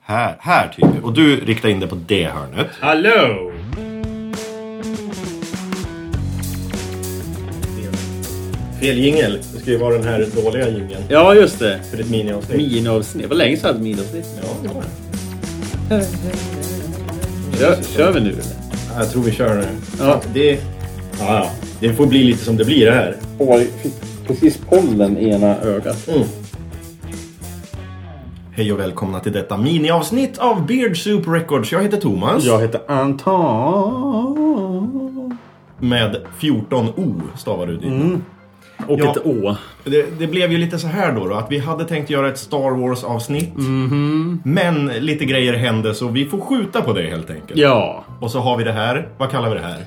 Här, här typ. Och du riktar in dig på det hörnet. Hallå! Fel jingel. Det ska ju vara den här dåliga jingeln Ja, just det. för ett miniavsnitt. Miniavsnitt. Vad länge sedan jag hade miniavsnitt. ja, det var det. Kör, kör vi nu eller? Ja, jag tror vi kör nu. Ja. Det, ja, ja. det får bli lite som det blir det här. Precis pollen i ena ögat. Hej och välkomna till detta miniavsnitt av Beard Soup Records. Jag heter Thomas. Jag heter Anton. Med 14 O stavar du ditt. Och Ja. ett Å. Det, det blev ju lite så här då, då att vi hade tänkt göra ett Star Wars avsnitt. Men lite grejer hände så vi får skjuta på det helt enkelt. Ja. Och så har vi det här. Vad kallar vi det här?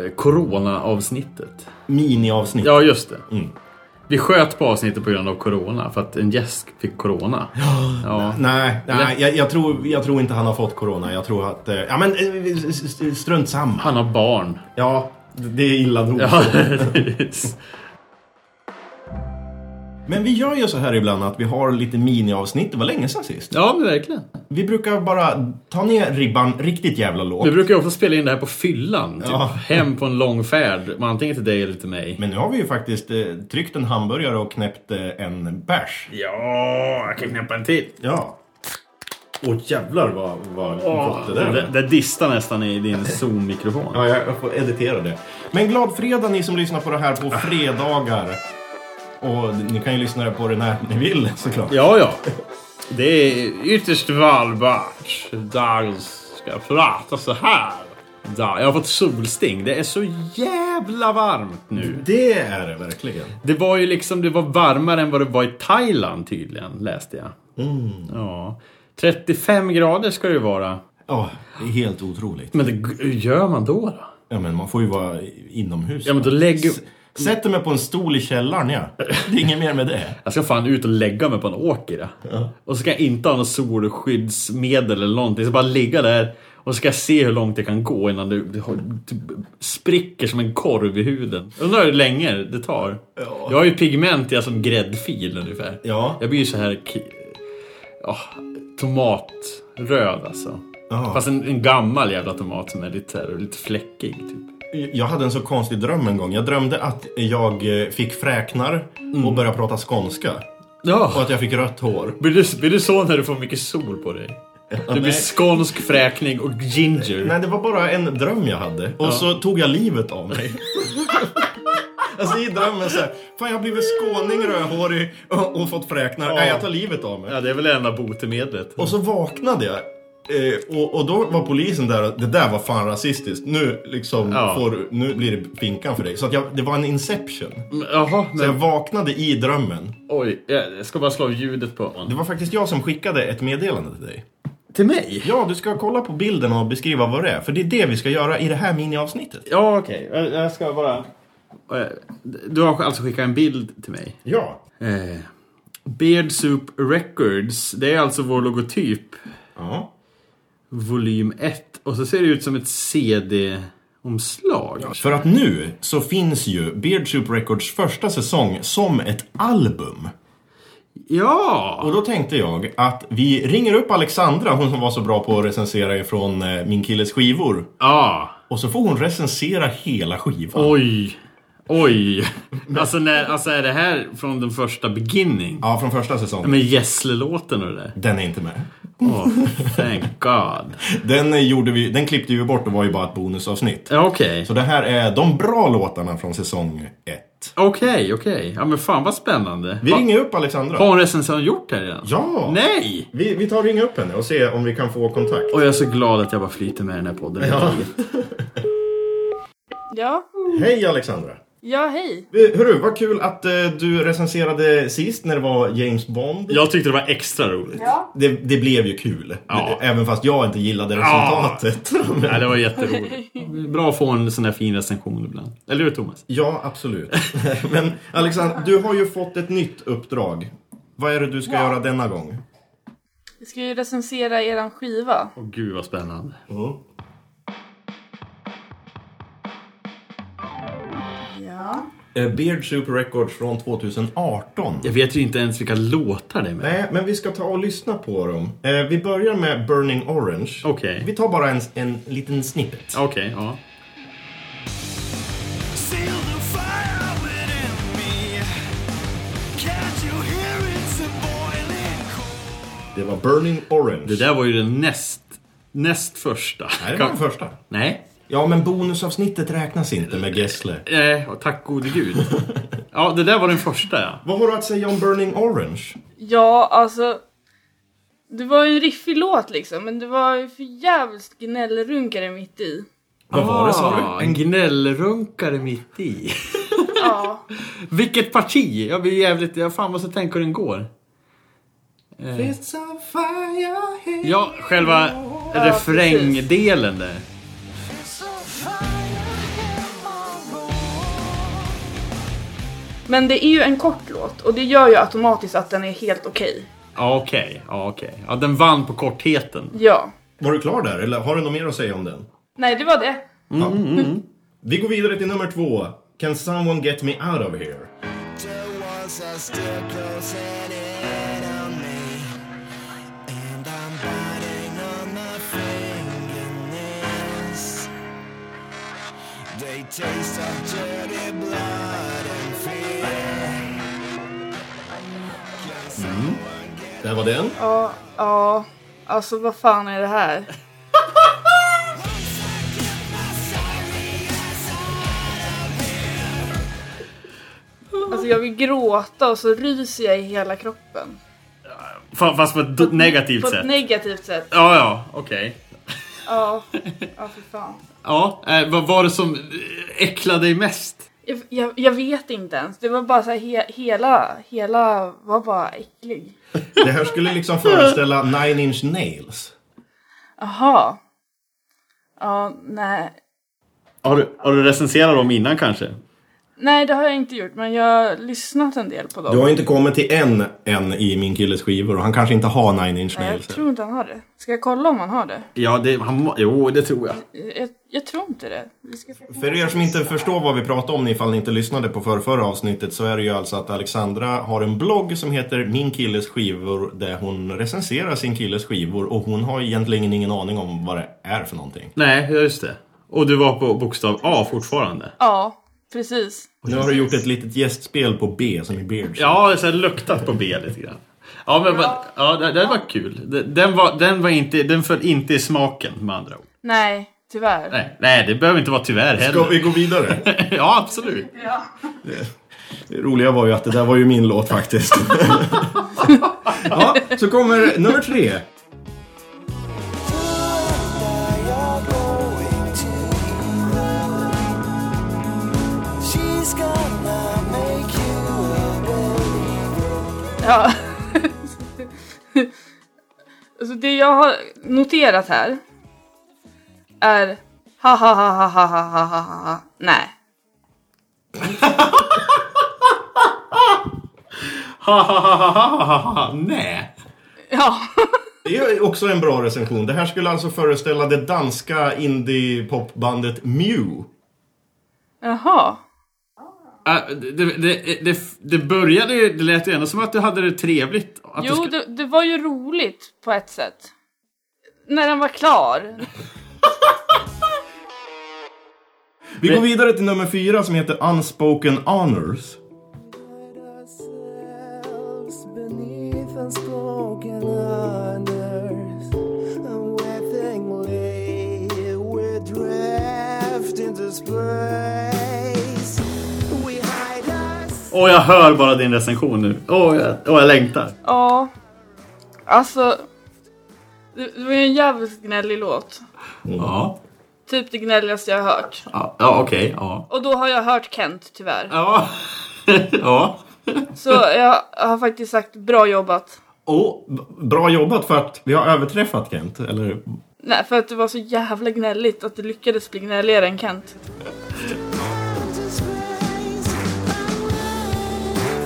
Eh, Corona-avsnittet. Miniavsnitt. Ja, just det. Mm. Vi sköt på avsnittet på grund av corona. För att en gäst fick corona. Ja. Nej, nej Eller? jag, jag, tror, jag tror inte han har fått corona. Jag tror att... eh, Ja men eh, s- s- strunt samma. Han har barn. Ja, det är illa nog. Ja, Men vi gör ju så här ibland att vi har lite miniavsnitt. Det var länge sedan sist. ja men verkligen. Vi brukar bara ta ner ribban riktigt jävla lågt. Vi brukar ju ofta spela in det här på fyllan. Typ. Ja. Hem på en lång färd. Antingen till dig eller till mig. Men nu har vi ju faktiskt eh, tryckt en hamburgare och knäppt eh, en bärs. Ja, jag kan knäppa en till. Ja. Åh jävlar vad, vad gott det där det, var. det distar nästan i din Zoom-mikrofon. Ja, jag jag får editera det. Men glad fredag ni som lyssnar på det här på fredagar. Och ni kan ju lyssna på det när ni vill såklart. Ja, ja. Det är ytterst valbart. Dagens ska prata så här. Da, jag har fått solsting. Det är så jävla varmt nu. Det är det verkligen. Det var ju liksom, det var varmare än vad det var i Thailand tydligen, läste jag. Mm. Ja. 35 grader ska det ju vara. Ja, det är helt otroligt. Men det, hur gör man då? då? Ja, men man får ju vara inomhus. Ja, men då lägger... Sätter mig på en stol i källaren, ja. Det är inget mer med det. Jag ska fan ut och lägga mig på en åker. Ja. Och så ska jag inte ha något solskyddsmedel eller någonting. Jag ska bara ligga där och ska se hur långt jag kan gå innan det det har- typ spricker som en korv i huden. Undrar hur länge det tar. Jag har ju pigment jag som gräddfil ungefär. Ja. Jag blir ju så här ki- ja, tomatröd alltså. Ja. Fast en, en gammal jävla tomat som är lite, så här, lite fläckig. Typ. Jag hade en så konstig dröm en gång. Jag drömde att jag eh, fick fräknar och började prata skånska. Och Ja. att jag fick rött hår. Blir du, blir du så när du får mycket sol på dig? Det blir nej. skånsk fräkning och ginger. Nej, det var bara en dröm jag hade. Och så tog jag livet av mig. alltså i drömmen så här, Fan, jag har blivit skåning, rödhårig och, och fått fräknar. Nej, jag tar livet av mig. Ja, det är väl det enda botemedlet. Och så vaknade jag. Eh, och, och då var polisen där och det där var fan rasistiskt. Nu, liksom, Ja. får, nu blir det finkan för dig. Så att jag, det var en inception. Men, Jaha, Så jag men vaknade i drömmen. oj. Jag ska bara slå av ljudet på Det var faktiskt jag som skickade ett meddelande till dig. Till mig? Ja, du ska kolla på bilden och beskriva vad det är. För det är det vi ska göra i det här miniavsnittet. Ja, okej. Jag- Jag ska bara... Eh, Du har alltså skickat en bild till mig. Ja. Eh, Beard Soup Records. Det är alltså vår logotyp. Ja. Volym 1. Och så ser det ut som ett CD-omslag. För att nu så finns ju Beard Soup Records första säsong som ett album. Ja! Och då tänkte jag att vi ringer upp Alexandra, hon som var så bra på att recensera ifrån eh, Min killes skivor. Ja! Och så får hon recensera hela skivan. Oj! Oj! Alltså, när, alltså är det här från den första beginning? Ja, från första säsongen. Med Gessle-låten och det där? Den är inte med. Oh, thank God. Den, eh, gjorde vi, den klippte vi bort och var ju bara ett bonusavsnitt. Ja, Okej, Så det här är de bra låtarna från säsong 1. okej, okej. Ja men fan vad spännande. Vi Va- ringer upp Alexandra. Har hon recension gjort här redan? Ja! Nej! Vi, vi tar och ringer upp henne och ser om vi kan få kontakt. Och jag är så glad att jag bara flyter med i den här podden. Ja. Ja, Hej Alexandra! ja hej. Eh, Hörru, vad kul att eh, du recenserade sist när det var James Bond. Jag tyckte det var extra roligt. Ja. Det, det blev ju kul. Ja. Även fast jag inte gillade resultatet. Nej, det var jätteroligt. Bra att få en sån här fin recension ibland. Eller hur Thomas? ja, absolut. Men Alexandra, du har ju fått ett nytt uppdrag. Vad är det du ska göra denna gång? Vi ska ju recensera eran skiva. Åh gud vad spännande. Ja. Eh, Beard Soup Records från 2018. Jag vet ju inte ens vilka låtar det är med. Nej, men vi ska ta och lyssna på dem. Eh, vi börjar med Burning Orange. Okej. Vi tar bara en, en liten snippet. Okej, ja. Seal the fire within me. Can't you hear it's a boiling cold? Det var Burning Orange. Det där var ju den näst, näst första. Nej, det var den första. Nej. Ja, men bonusavsnittet räknas inte med Gessle. Eh, och tack gode gud. ja, det där var den första ja. Vad har du att säga om Burning Orange? Ja, alltså. Det var ju en riffig låt liksom, men det var ju för jävligt gnällrunkare mitt i. Vad var det, sa Ah, du? En gnällrunkare mitt i. Ja. Vilket parti! Jag blir jävligt... Jag fan måste tänka hur den går. It's on fire here. Ja, själva refrängdelen där. It's a fire in my room. Men det är ju en kort låt och det gör ju automatiskt att den är helt okej. Ja, okej. Ja, okej. Ja, den vann på kortheten. Ja. Var du klar där, eller har du något mer att säga om den? Nej, det var det. Vi går vidare till nummer två. Can someone get me out of here? There was a still close and enemy. And I'm biting on my fingernails. They taste of dirty blood and fear. Där var den. Ja, ja. Alltså vad fan är det här? Alltså jag vill gråta och så ryser jag i hela kroppen. Fa- Fast på ett d- negativt På ett sätt. negativt sätt. Ja, ja, okej. Ja, ja för fan. Ja, eh, vad var det som eh, äcklade dig mest? Jag, jag, jag vet inte ens. Det var bara så här he, hela, hela var bara äcklig. Det här skulle liksom föreställa Nine Inch Nails. Aha. Ja, nej. Har du, har du recenserat dem innan kanske? Nej, det har jag inte gjort, men jag har lyssnat en del på dem. Du har inte kommit till en än i min killes skivor och han kanske inte har Nine Inch Nej, jag Nails. tror inte han har det. Ska jag kolla om han har det? Ja, det, han, må- jo, det tror jag. Jag, jag tror inte det. Vi ska... För er som inte förstår vad vi pratar om, ifall ni inte lyssnade på förra, förra avsnittet, så är det ju alltså att Alexandra har en blogg som heter Min killes skivor, där hon recenserar sin killes skivor och hon har egentligen ingen aning om vad det är för någonting. Nej, ja, just det. Och du var på bokstav A fortfarande? Ja, precis. Nu har du gjort ett litet gästspel på B, som i Beards. Ja, det har så här luktat på B lite grann. Ja, men vad- ja, det, det var kul. Det- Den, var, den, var inte, den föll inte i smaken med andra ord. Nej, tyvärr. Nej, nej det behöver inte vara tyvärr Ska heller. vi gå vidare? Ja, absolut. Det roliga var ju att det där var ju min låt faktiskt. ja, så kommer nummer tre. She's gonna make you a Ja. alltså det jag har noterat här är ha ha ha ha ha ha ha ha ha ha. Nej. Ha, ha, ha, ha, ha, ha, ha, ha. Nej. Ja. Det är också en bra recension. Det här skulle alltså föreställa det danska indie-popbandet Mew. Jaha. Ah, Det, det, det, det, det började ju, det lät ju ändå som att du hade det trevligt. Att du Jo, ska- det, det var ju roligt på ett sätt. När den var klar. Vi går vidare till nummer fyra som heter Unspoken Honors. ourselves beneath unspoken honors. And wettingly we drift into space. We hide us. Åh, jag hör bara din recension nu. Åh, jag, åh, jag längtar. Ja. Alltså. Det, det var ju en jävligt gnällig låt. Ja, Typ det gnälligaste jag har hört. ja, ja okej. ja. Och då har jag hört Kent tyvärr. Ja. ja. Så jag har faktiskt sagt bra jobbat. Och b- bra jobbat för att vi har överträffat Kent, eller? Nej, för att det var så jävla gnälligt att det lyckades bli gnälligare än Kent. into space. I'm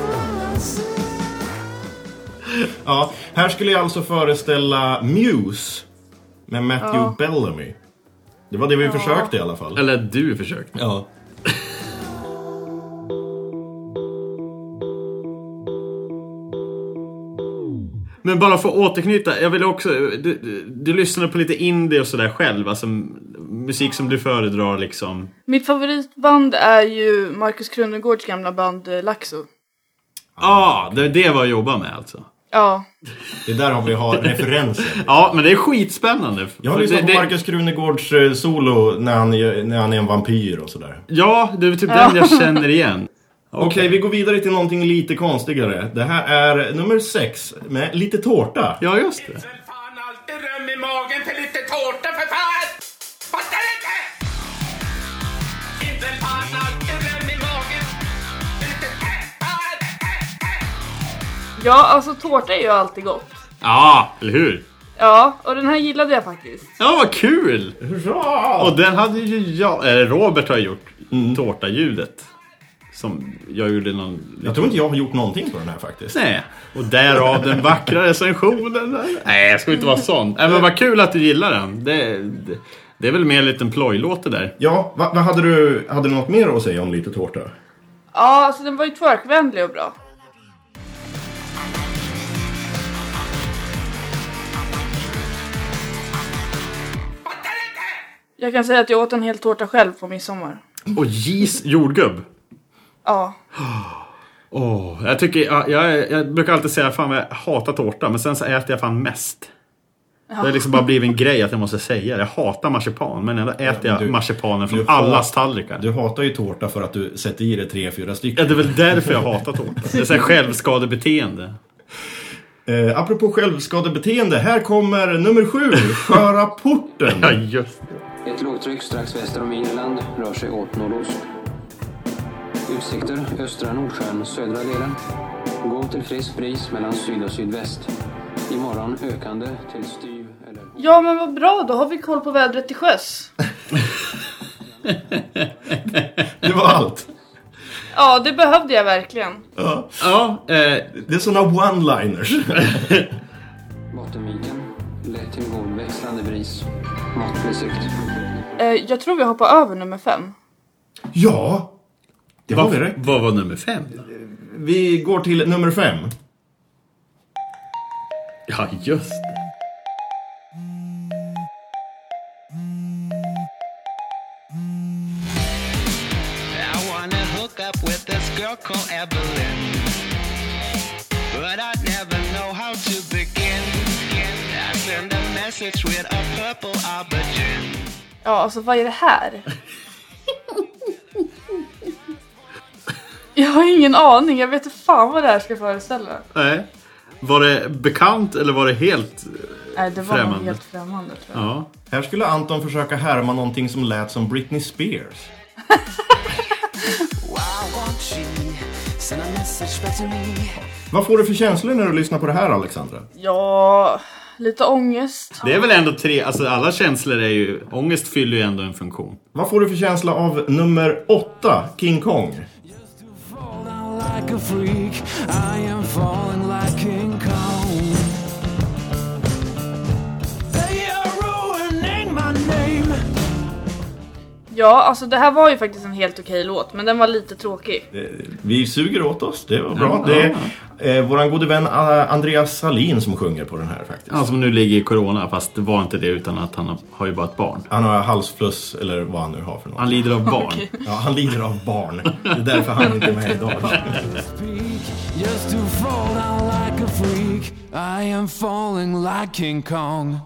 running from ourselves. Ja, här skulle jag alltså föreställa Muse med Matthew Bellamy. Det var det vi försökte i alla fall. Eller du försökte. Ja. Men bara för att återknyta, jag vill också... Du, du, du lyssnade på lite indie och sådär själv, alltså musik som du föredrar liksom. Mitt favoritband är ju Markus Krunegårds gamla band eh, Laxo. Ja, ah, det är det jag jobbar med alltså. Ja, Det är där har vi har referenser. Ja, men det är skitspännande. Jag har För lyssnat det- på det- Marcus Krunegårds eh, solo när han, gör- när han är en vampyr och sådär. Ja, det är typ den jag känner igen. Okej, vi går vidare till någonting lite konstigare. Det här är nummer sex med lite tårta. Ja, just det. väl fan alltid rum i magen för lite tårta för fan! Fattar du inte? Inte fan alltid rum i magen för lite fan! ja alltså tårta är ju alltid gott. Ja, eller hur? Ja, och den här gillade jag faktiskt. Ja, vad kul! Hurra! Och den hade ju jag, eller Robert har gjort, Mm. tårtaljudet. Som jag gjorde någon... Jag tror inte jag har gjort någonting på den här faktiskt. Nej. Och därav den vackra recensionen. Nej, jag ska inte vara sån. Nej, men vad kul att du gillar den. Det, det, det är väl mer en liten plojlåt det där. Ja, vad, vad hade, du, hade du något mer att säga om lite tårta? Ja, alltså den var ju twerkvänlig och bra. Fattar du inte? Jag kan säga att jag åt en hel tårta själv på midsommar. Och Jis jordgubb. Ja, Åh, jag, tycker, jag, jag, jag brukar alltid säga fan vad jag hatar tårta, men sen så äter jag fan mest. Det har liksom bara blivit en grej att jag måste säga det. Jag hatar marsipan, men ändå äter jag du- marsipanen du från hat- allas tallrikar. Du hatar ju tårta för att du sätter i dig tre, fyra Ja, stycken. det är väl därför jag hatar tårta. Det är så här självskadebeteende. Eh, apropå självskadebeteende, här kommer nummer sju, Sköra porten. Ja, just Ett lågtryck strax väster om Irland rör sig åt nordost. Utsikter östra Nordsjön, södra delen. Gå till frisk bris mellan syd och sydväst. Imorgon ökande till styv eller... ja men vad bra, då har vi koll på vädret till sjöss. Det var allt. Ja, det behövde jag verkligen. Ja. Ja, eh, Det är såna one-liners. Bottenviken, lätt till god växlande bris. Måttlig sikt. Eh, jag tror vi hoppar över nummer fem. Ja, det har vad, vi rätt. vad var nummer fem? då? Vi går till nummer fem. Ja, just det. I wanna hook up with this girl called Evelyn. But I never know how to begin. I send a message with a purple aubergine. Ja, alltså vad är det här? Jag har ingen aning, jag vet inte fan vad det här ska föreställa. Nej. Var det bekant eller var det helt... Nej, det var Främmande. nog helt främmande tror jag. Ja. Här skulle Anton försöka härma någonting som lät som Britney Spears. Why won't she send a message back to me? Vad får du för känslor när du lyssnar på det här, Alexandra? Ja, lite ångest. Det är väl ändå tre, alltså alla känslor är ju... Ångest fyller ju ändå en funktion. Vad får du för känsla av nummer åtta, King Kong? Fall down like a freak. I am falling like King Kong. They are ruining my name. Ja, alltså det här var ju faktiskt en helt okej låt, men den var lite tråkig. Vi suger åt oss, det var bra. Det är eh, våran gode vän eh, Andreas Salin som sjunger på den här faktiskt. Han som nu ligger i corona, fast det var inte det utan att han har- har ju bara ett barn. Han har halsfluss, eller vad han nu har för något. Han lider av barn. Ja, han lider av barn. Det är därför han inte är med idag. Peak, Just to fall down like a freak. I am falling like King Kong.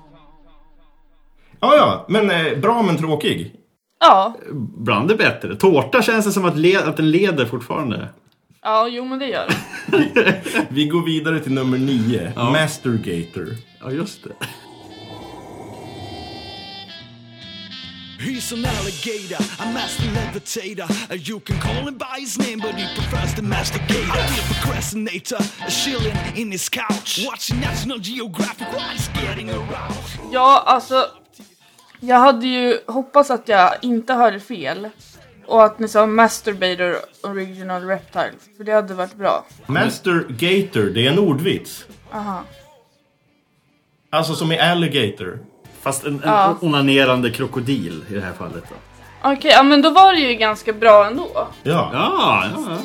Ja, ja, men eh, bra men tråkig. Ja, Bland det bättre. Tårta känns det som att, le, att den leder fortfarande. ja jo men det gör det. Vi går vidare till nummer nio, Mastergator. Ja, just det. He's an alligator, a master levitator. Uh, You can call him by his name, but he prefers to masticate. I'll be a procrastinator, chilling in his couch, watching National Geographic while he's getting aroused. Ja, alltså. Jag hade ju hoppats att jag inte hörde fel. Och att ni sa Masturbator Original Reptile, för det hade varit bra. Mastergator, det är en ordvits. Aha. Alltså som i alligator. Fast en, en onanerande krokodil i det här fallet. Då. Okej, ja men då var det ju ganska bra ändå. Ja. Ja, ja, ja. I'm a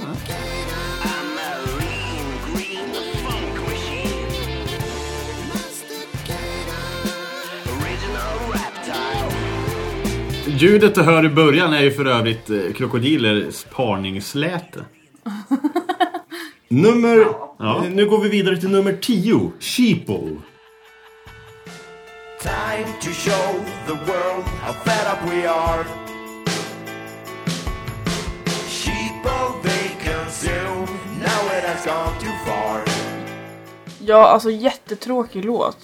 lean green funk machine. Ljudet du hör i början är ju för övrigt eh, krokodilers parningsläte. Nummer... Ja. eh, Nu går vi vidare till nummer 10. Sheeple. Time to show the world how fed up we are. Sheeple they consume, now it has gone too far. Ja, alltså jättetråkig låt.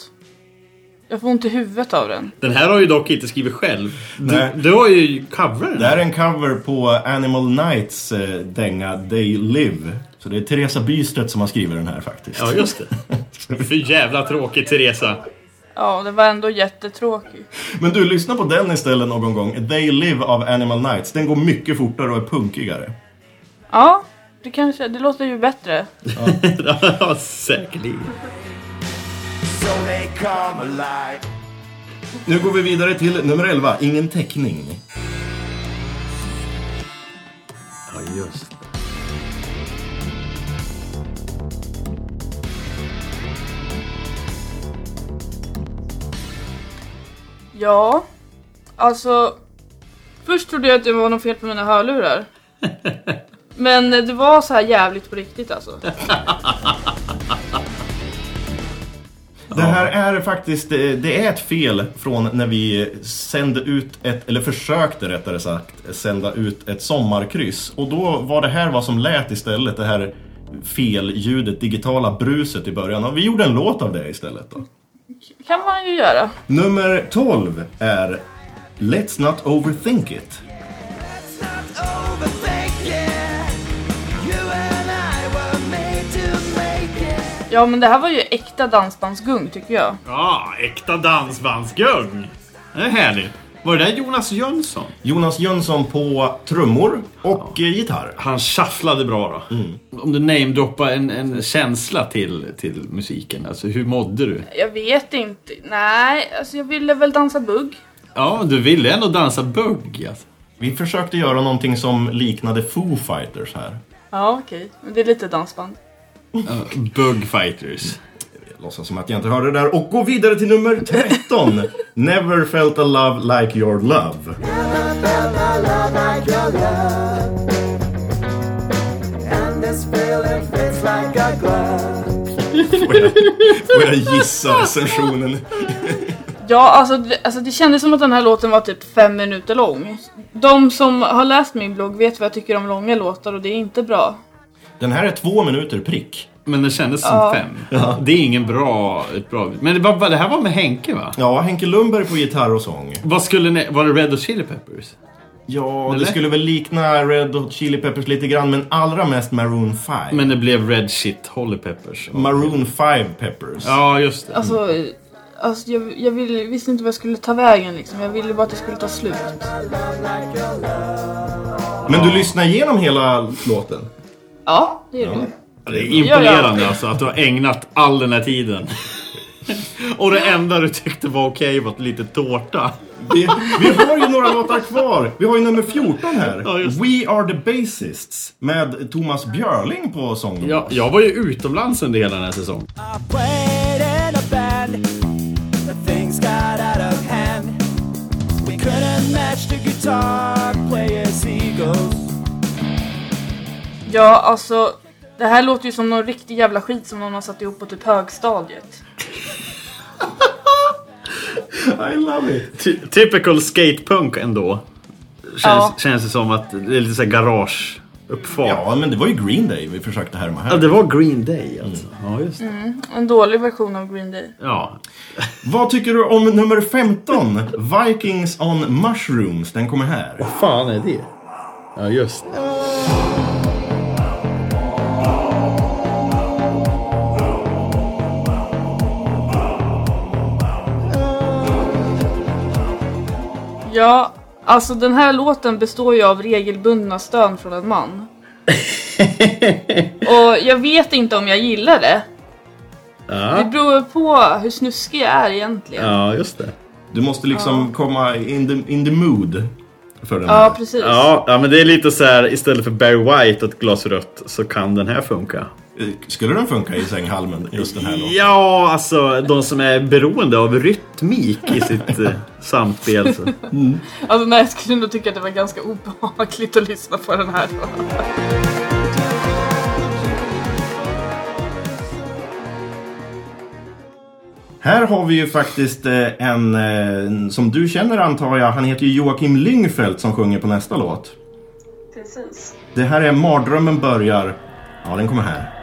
Jag får ont i huvudet av den. Den här har ju dock inte skrivit själv. Du, Nej. du har ju coverat den. Det här är en cover på Animal Nights eh, dänga They Live. Så det är Teresa Bystedt som har skrivit den här faktiskt. Ja, just det. För jävla tråkigt, Teresa. Ja, den var ändå jättetråkig. Men du, lyssna på den istället någon gång. They Live av Animal Nights. Den går mycket fortare och är punkigare. Ja, det kanske, det låter ju bättre. Ja, Säkerligen. So they come alive. Nu går vi vidare till nummer 11, Ingen täckning. Ja, just det. Ja, alltså. Först trodde jag att det var något fel på mina hörlurar. Men det var så här jävligt på riktigt alltså. Det här är faktiskt, eh, det är ett fel från när vi sände ut ett, eller försökte rättare sagt, sända ut ett sommarkryss. Och då var det här vad som lät istället, det här felljudet, digitala bruset i början. Och vi gjorde en låt av det istället då. kan man ju göra. Nummer 12 är Let's Not Overthink It. Ja, men det här var ju äkta dansbandsgung tycker jag. Ja, äkta dansbandsgung. Det är härligt. Var det där Jonas Jönsson? Jonas Jönsson på trummor och eh, gitarr. Han shufflade bra då. Om du namedroppar en, en känsla till, till musiken, alltså hur mådde du? Jag vet inte. Nej, alltså jag ville väl dansa bugg. Ja, du ville ändå dansa bugg alltså. Vi försökte göra någonting som liknade Foo Fighters här. Ja, okej. Men det är lite dansband. Ja, Bugfighters. Jag låtsas som att jag inte hörde det där och gå vidare till nummer 13. Never felt a love like your love. Får jag, får jag gissa recensionen? Ja, alltså det, alltså det kändes som att den här låten var typ fem minuter lång. De som har läst min blogg vet vad jag tycker om långa låtar och det är inte bra. Den här är två minuter prick. Men det kändes som Ja. fem. Det är ingen bra... Ett bra men det, var, det här var med Henke va? Ja, Henke Lundberg på gitarr och sång. Vad skulle ni, Var det Red Hot Chili Peppers? Ja, Eller? det skulle väl likna Red Hot Chili Peppers lite grann, men allra mest Maroon 5. Men det blev Red Shit Holly Peppers. Maroon 5 Peppers. Ja, just det. Alltså, alltså jag, jag ville, visste inte vad jag skulle ta vägen liksom. Jag ville bara att det skulle ta slut. Men du lyssnar igenom hela låten? Ja, det gjorde jag. Det är imponerande alltså att du har ägnat all den här tiden. Och det enda du tyckte var okej var lite tårta. Vi, vi har ju några låtar kvar. Vi har ju nummer 14 här. Ja, just We Are The Basists med Thomas Björling på sång. och Jag, bas. jag var ju utomlands under hela den här säsongen. I played in a band, but things got out of hand. We couldn't match the guitar player's egos. Ja, alltså. Det här låter ju som någon riktig jävla skit som någon har satt ihop på typ högstadiet. I love it. Ty- typical skatepunk ändå. Känns, Ja. känns det som att det är lite såhär garageuppfart. Ja. Ja, men det var ju Green Day vi försökte härma här. det var Green Day alltså. Ja, just det. En dålig version av Green Day. Ja. Vad tycker du om nummer 15? Vikings on Mushrooms. Den kommer här. fan är det? Ja, just det. Ja, alltså den här låten består ju av regelbundna stön från en man. Och jag vet inte om jag gillar det. Det Ja, beror på hur snuskig jag är egentligen. Ja, ja just det. Du måste liksom komma in the, in the mood för den här. precis. Ja, ja, men det är lite så här istället för Barry White och ett glas rött så kan den här funka. Eh, Skulle den funka i sänghalmen, just den här låten? Ja, alltså de som är beroende av rytmik i sitt eh, samspel. Så. Alltså nej, jag skulle nog tycka att det var ganska obehagligt att lyssna på den här. Här har vi ju faktiskt eh, en, eh, som du känner antar jag, han heter ju Joakim Lyngfeldt som sjunger på nästa låt. Precis. Det här är Mardrömmen börjar. Ja, den kommer här.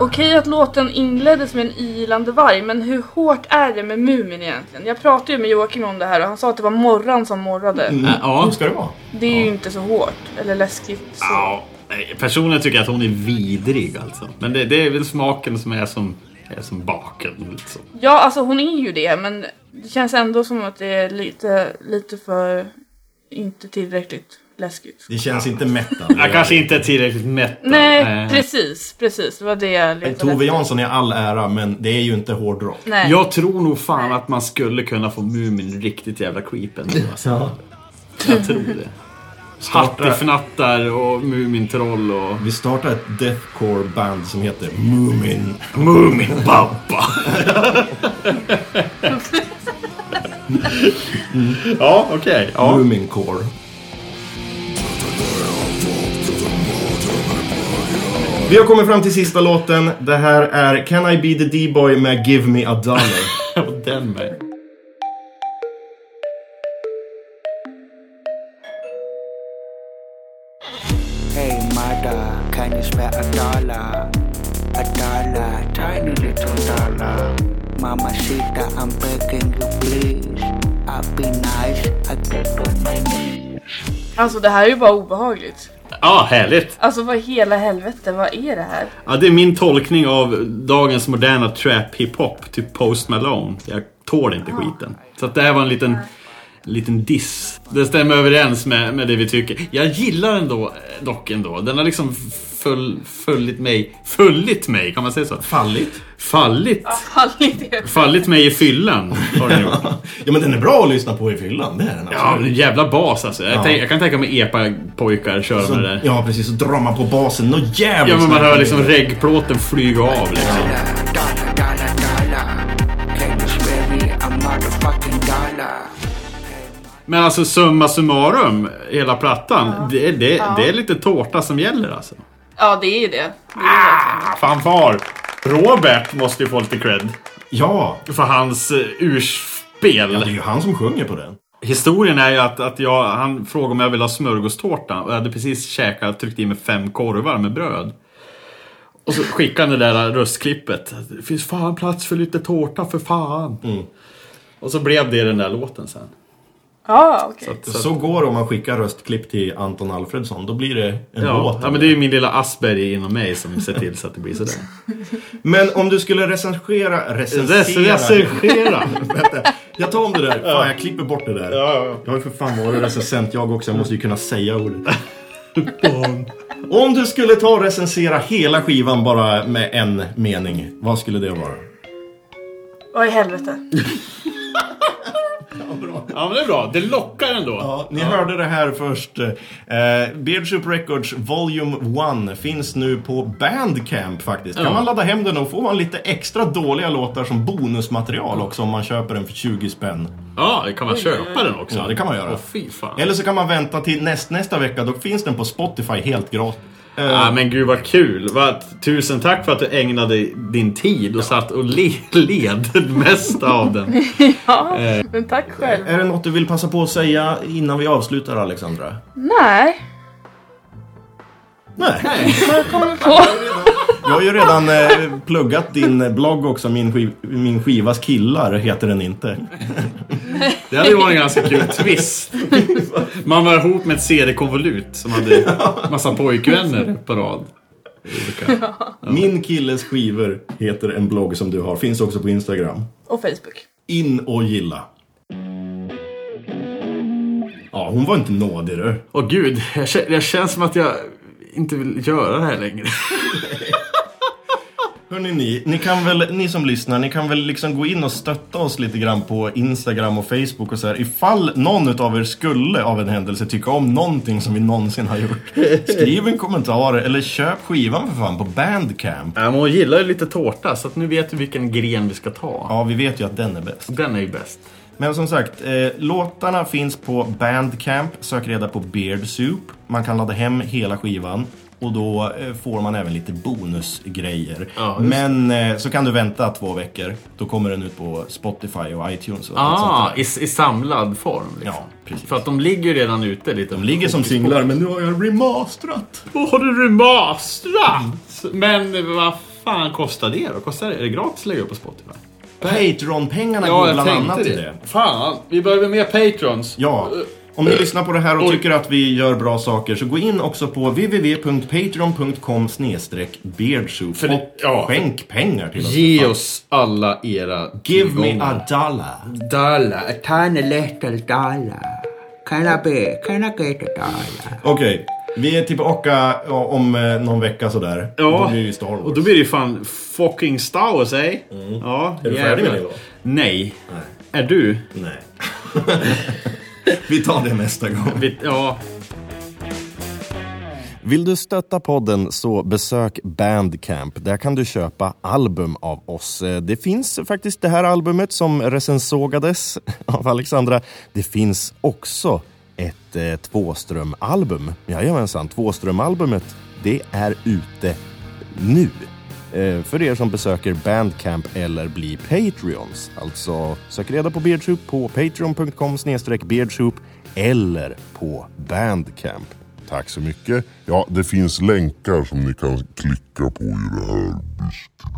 Okej att låten inleddes med en ilande varg, men hur hårt är det med Mumin egentligen? Jag pratade ju med Joakim om det här och han sa att det var morran som morrade. Ja. Hur ska det vara? Det är ju inte så hårt, eller läskigt. Så. Ja, nej, personligen tycker jag att hon är vidrig alltså. Men det, det är väl smaken som är som, är som baken. Liksom. Ja, alltså hon är ju det, men det känns ändå som att det är lite, lite för... Inte tillräckligt läskigt. Det känns inte metal. Jag kanske inte är tillräckligt mätt. då. Nej, Eh, precis, precis. Det var det jag letade Tove efter. Jansson i all ära, men det är ju inte hårdrock. Nej. Jag tror nog fan att man skulle kunna få Mumin riktigt jävla creep ändå. Alltså. Jag tror det. Hattifnattar och Mumintroll och... Vi startar ett deathcore-band som heter Moomin. Muminpappa! ja, okej. Ja. Moomincore. Vi har kommit fram till sista låten. Det här är Can I Be The D-Boy med Give Me A Dollar. Och den med. Hey mother, can you spare a dollar? A dollar, tiny little dollar. Mama Sita, I'm begging you please. I'll be nice, I get on my knees. Alltså det här är ju bara obehagligt. Ja, härligt. Alltså vad i hela helvete, vad är det här? Ja, det är min tolkning av dagens moderna trap hiphop, typ Post Malone. Jag tål inte skiten. Så att det här var en liten, liten diss. Det stämmer överens med, med det vi tycker. Jag gillar den då, eh, dock ändå. Den har liksom föl, följt mig. Följt mig, kan man säga så? Fallit. Fallit. Fan, det är- Fallit mig i fyllan, har den gjort. Ja men den är bra att lyssna på i fyllan, det är den Ja, absolut. en jävla bas alltså. Jag, Ja. Alltså, tänk, jag kan tänka mig epa-pojkar köra med det där. ja precis, så drar man på basen nåt jävligt. Ja, men man hör liksom reggplåten flyga av liksom. Dollar, dollar, dollar. Can you spare me a motherfucking dollar? Men alltså summa summarum, hela plattan. Det, det, det är lite tårta som gäller alltså. Ja, det är ju det. Fanfar! Robert måste ju få lite cred Ja, för hans eh, ja, det är urspel. ju han som sjunger på den. Historien är ju att, att jag, han frågade om jag ville ha smörgåstårta och jag hade precis käkat, tryckt i mig fem korvar med bröd. Och så skickade han det där röstklippet. Det finns fan plats för lite tårta för fan. Och så blev det den där låten sen. Ja, Ah, okej. Så Så går det om man skickar röstklipp till Anton Alfredsson, då blir det en Ja, låt. ja, men det är ju min lilla Asperger inom mig som ser till så att det blir sådär. Men om du skulle recensera... Recensera? Recensera! Vänta, jag tar om det där. Fan, jag klipper bort det där. Jag har ju för fan varit recensent jag också, jag måste ju kunna säga ordet. om du skulle ta och recensera hela skivan bara med en mening, vad skulle det vara? Vad i helvete. Ja men det är bra, det lockar ändå. Ja, ni hörde det här först. Eh, Beardship Records Volume 1 finns nu på Bandcamp faktiskt. Kan man ladda hem den och får man lite extra dåliga låtar som bonusmaterial också om man köper den för 20 spänn. Ja, det kan man köpa den också? Ja, det kan man göra. Åh fy fan. Eller så kan man vänta till näst, nästa vecka, då finns den på Spotify helt gratis. Ja, Äh, men gud vad kul! Vad, tusen tack för att du ägnade din tid och satt och le, led det mesta av den. Ja, men tack själv. Är det något du vill passa på att säga innan vi avslutar Alexandra? Nej. Nej. På. Jag har ju redan eh, pluggat din blogg också, min, skiv, min skivas killar heter den inte. Det hade ju varit en ganska kul twist. Man var ihop med ett CD-konvolut som hade massa pojkvänner på rad. Olika. Min killes skivor heter en blogg som du har, finns också på Instagram. Och Facebook. In och gilla. Ja, hon var inte nådig du. Åh gud, jag, kä- jag känns som att jag inte vill göra det här längre. Hörrni ni, ni kan väl, ni som lyssnar, ni kan väl liksom gå in och stötta oss lite grann på Instagram och Facebook och så här. Ifall någon utav er skulle av en händelse tycka om någonting som vi någonsin har gjort. Skriv en kommentar eller köp skivan för fan på Bandcamp. Ja, men hon gillar ju lite tårta, så att nu vet vi vilken gren vi ska ta. Ja, vi vet ju att den är bäst. Den är ju bäst. Men som sagt, eh, låtarna finns på Bandcamp. Sök reda på Beard Soup. Man kan ladda hem hela skivan. Och då eh, får man även lite bonusgrejer. Ja, just Men eh, så kan du vänta två veckor. Då kommer den ut på Spotify och iTunes. Och allt sånt Ah, där. i, i samlad form. Liksom. Ja, precis. För att de ligger ju redan ute lite. De ligger som singlar, men nu har jag remasterat. Åh, har du remastrat? Men vad fan kostar det då? Kostar det, är det gratis att lägga upp på Spotify? Patreon-pengarna går bland annat till det. Fan, vi behöver mer patrons. Ja. Om ni lyssnar på det här och tycker att vi gör bra saker så gå in också på www.patreon.com beardsoup För det- och ja. skänk pengar till oss. för Ge fan. oss alla era Give me a dollar. Dollar, a tiny little dollar. Can I be, can I get a dollar? Okej, vi är tillbaka ja, om eh, någon vecka sådär. Ja. Då blir det ju Star Wars. Och då blir det ju fan fucking Star Wars, eh? Ja, Mm. Är du färdig med det då? Nej. Är du? Nej. vi tar det nästa gång. Vi- Ja. Vill du stötta podden så besök Bandcamp. Där kan du köpa album av oss. Eh, Det finns faktiskt det här albumet som recensågades av Alexandra. Det finns också ett eh, tvåströmalbum. Jajamensan, tvåströmalbumet det är ute nu. Eh, För er som besöker Bandcamp eller blir Patreons. Alltså, sök reda på Beardsoup på patreon.com beardsoup eller på Bandcamp. Tack så mycket. Ja, det finns länkar som ni kan klicka på i det här beskrivet.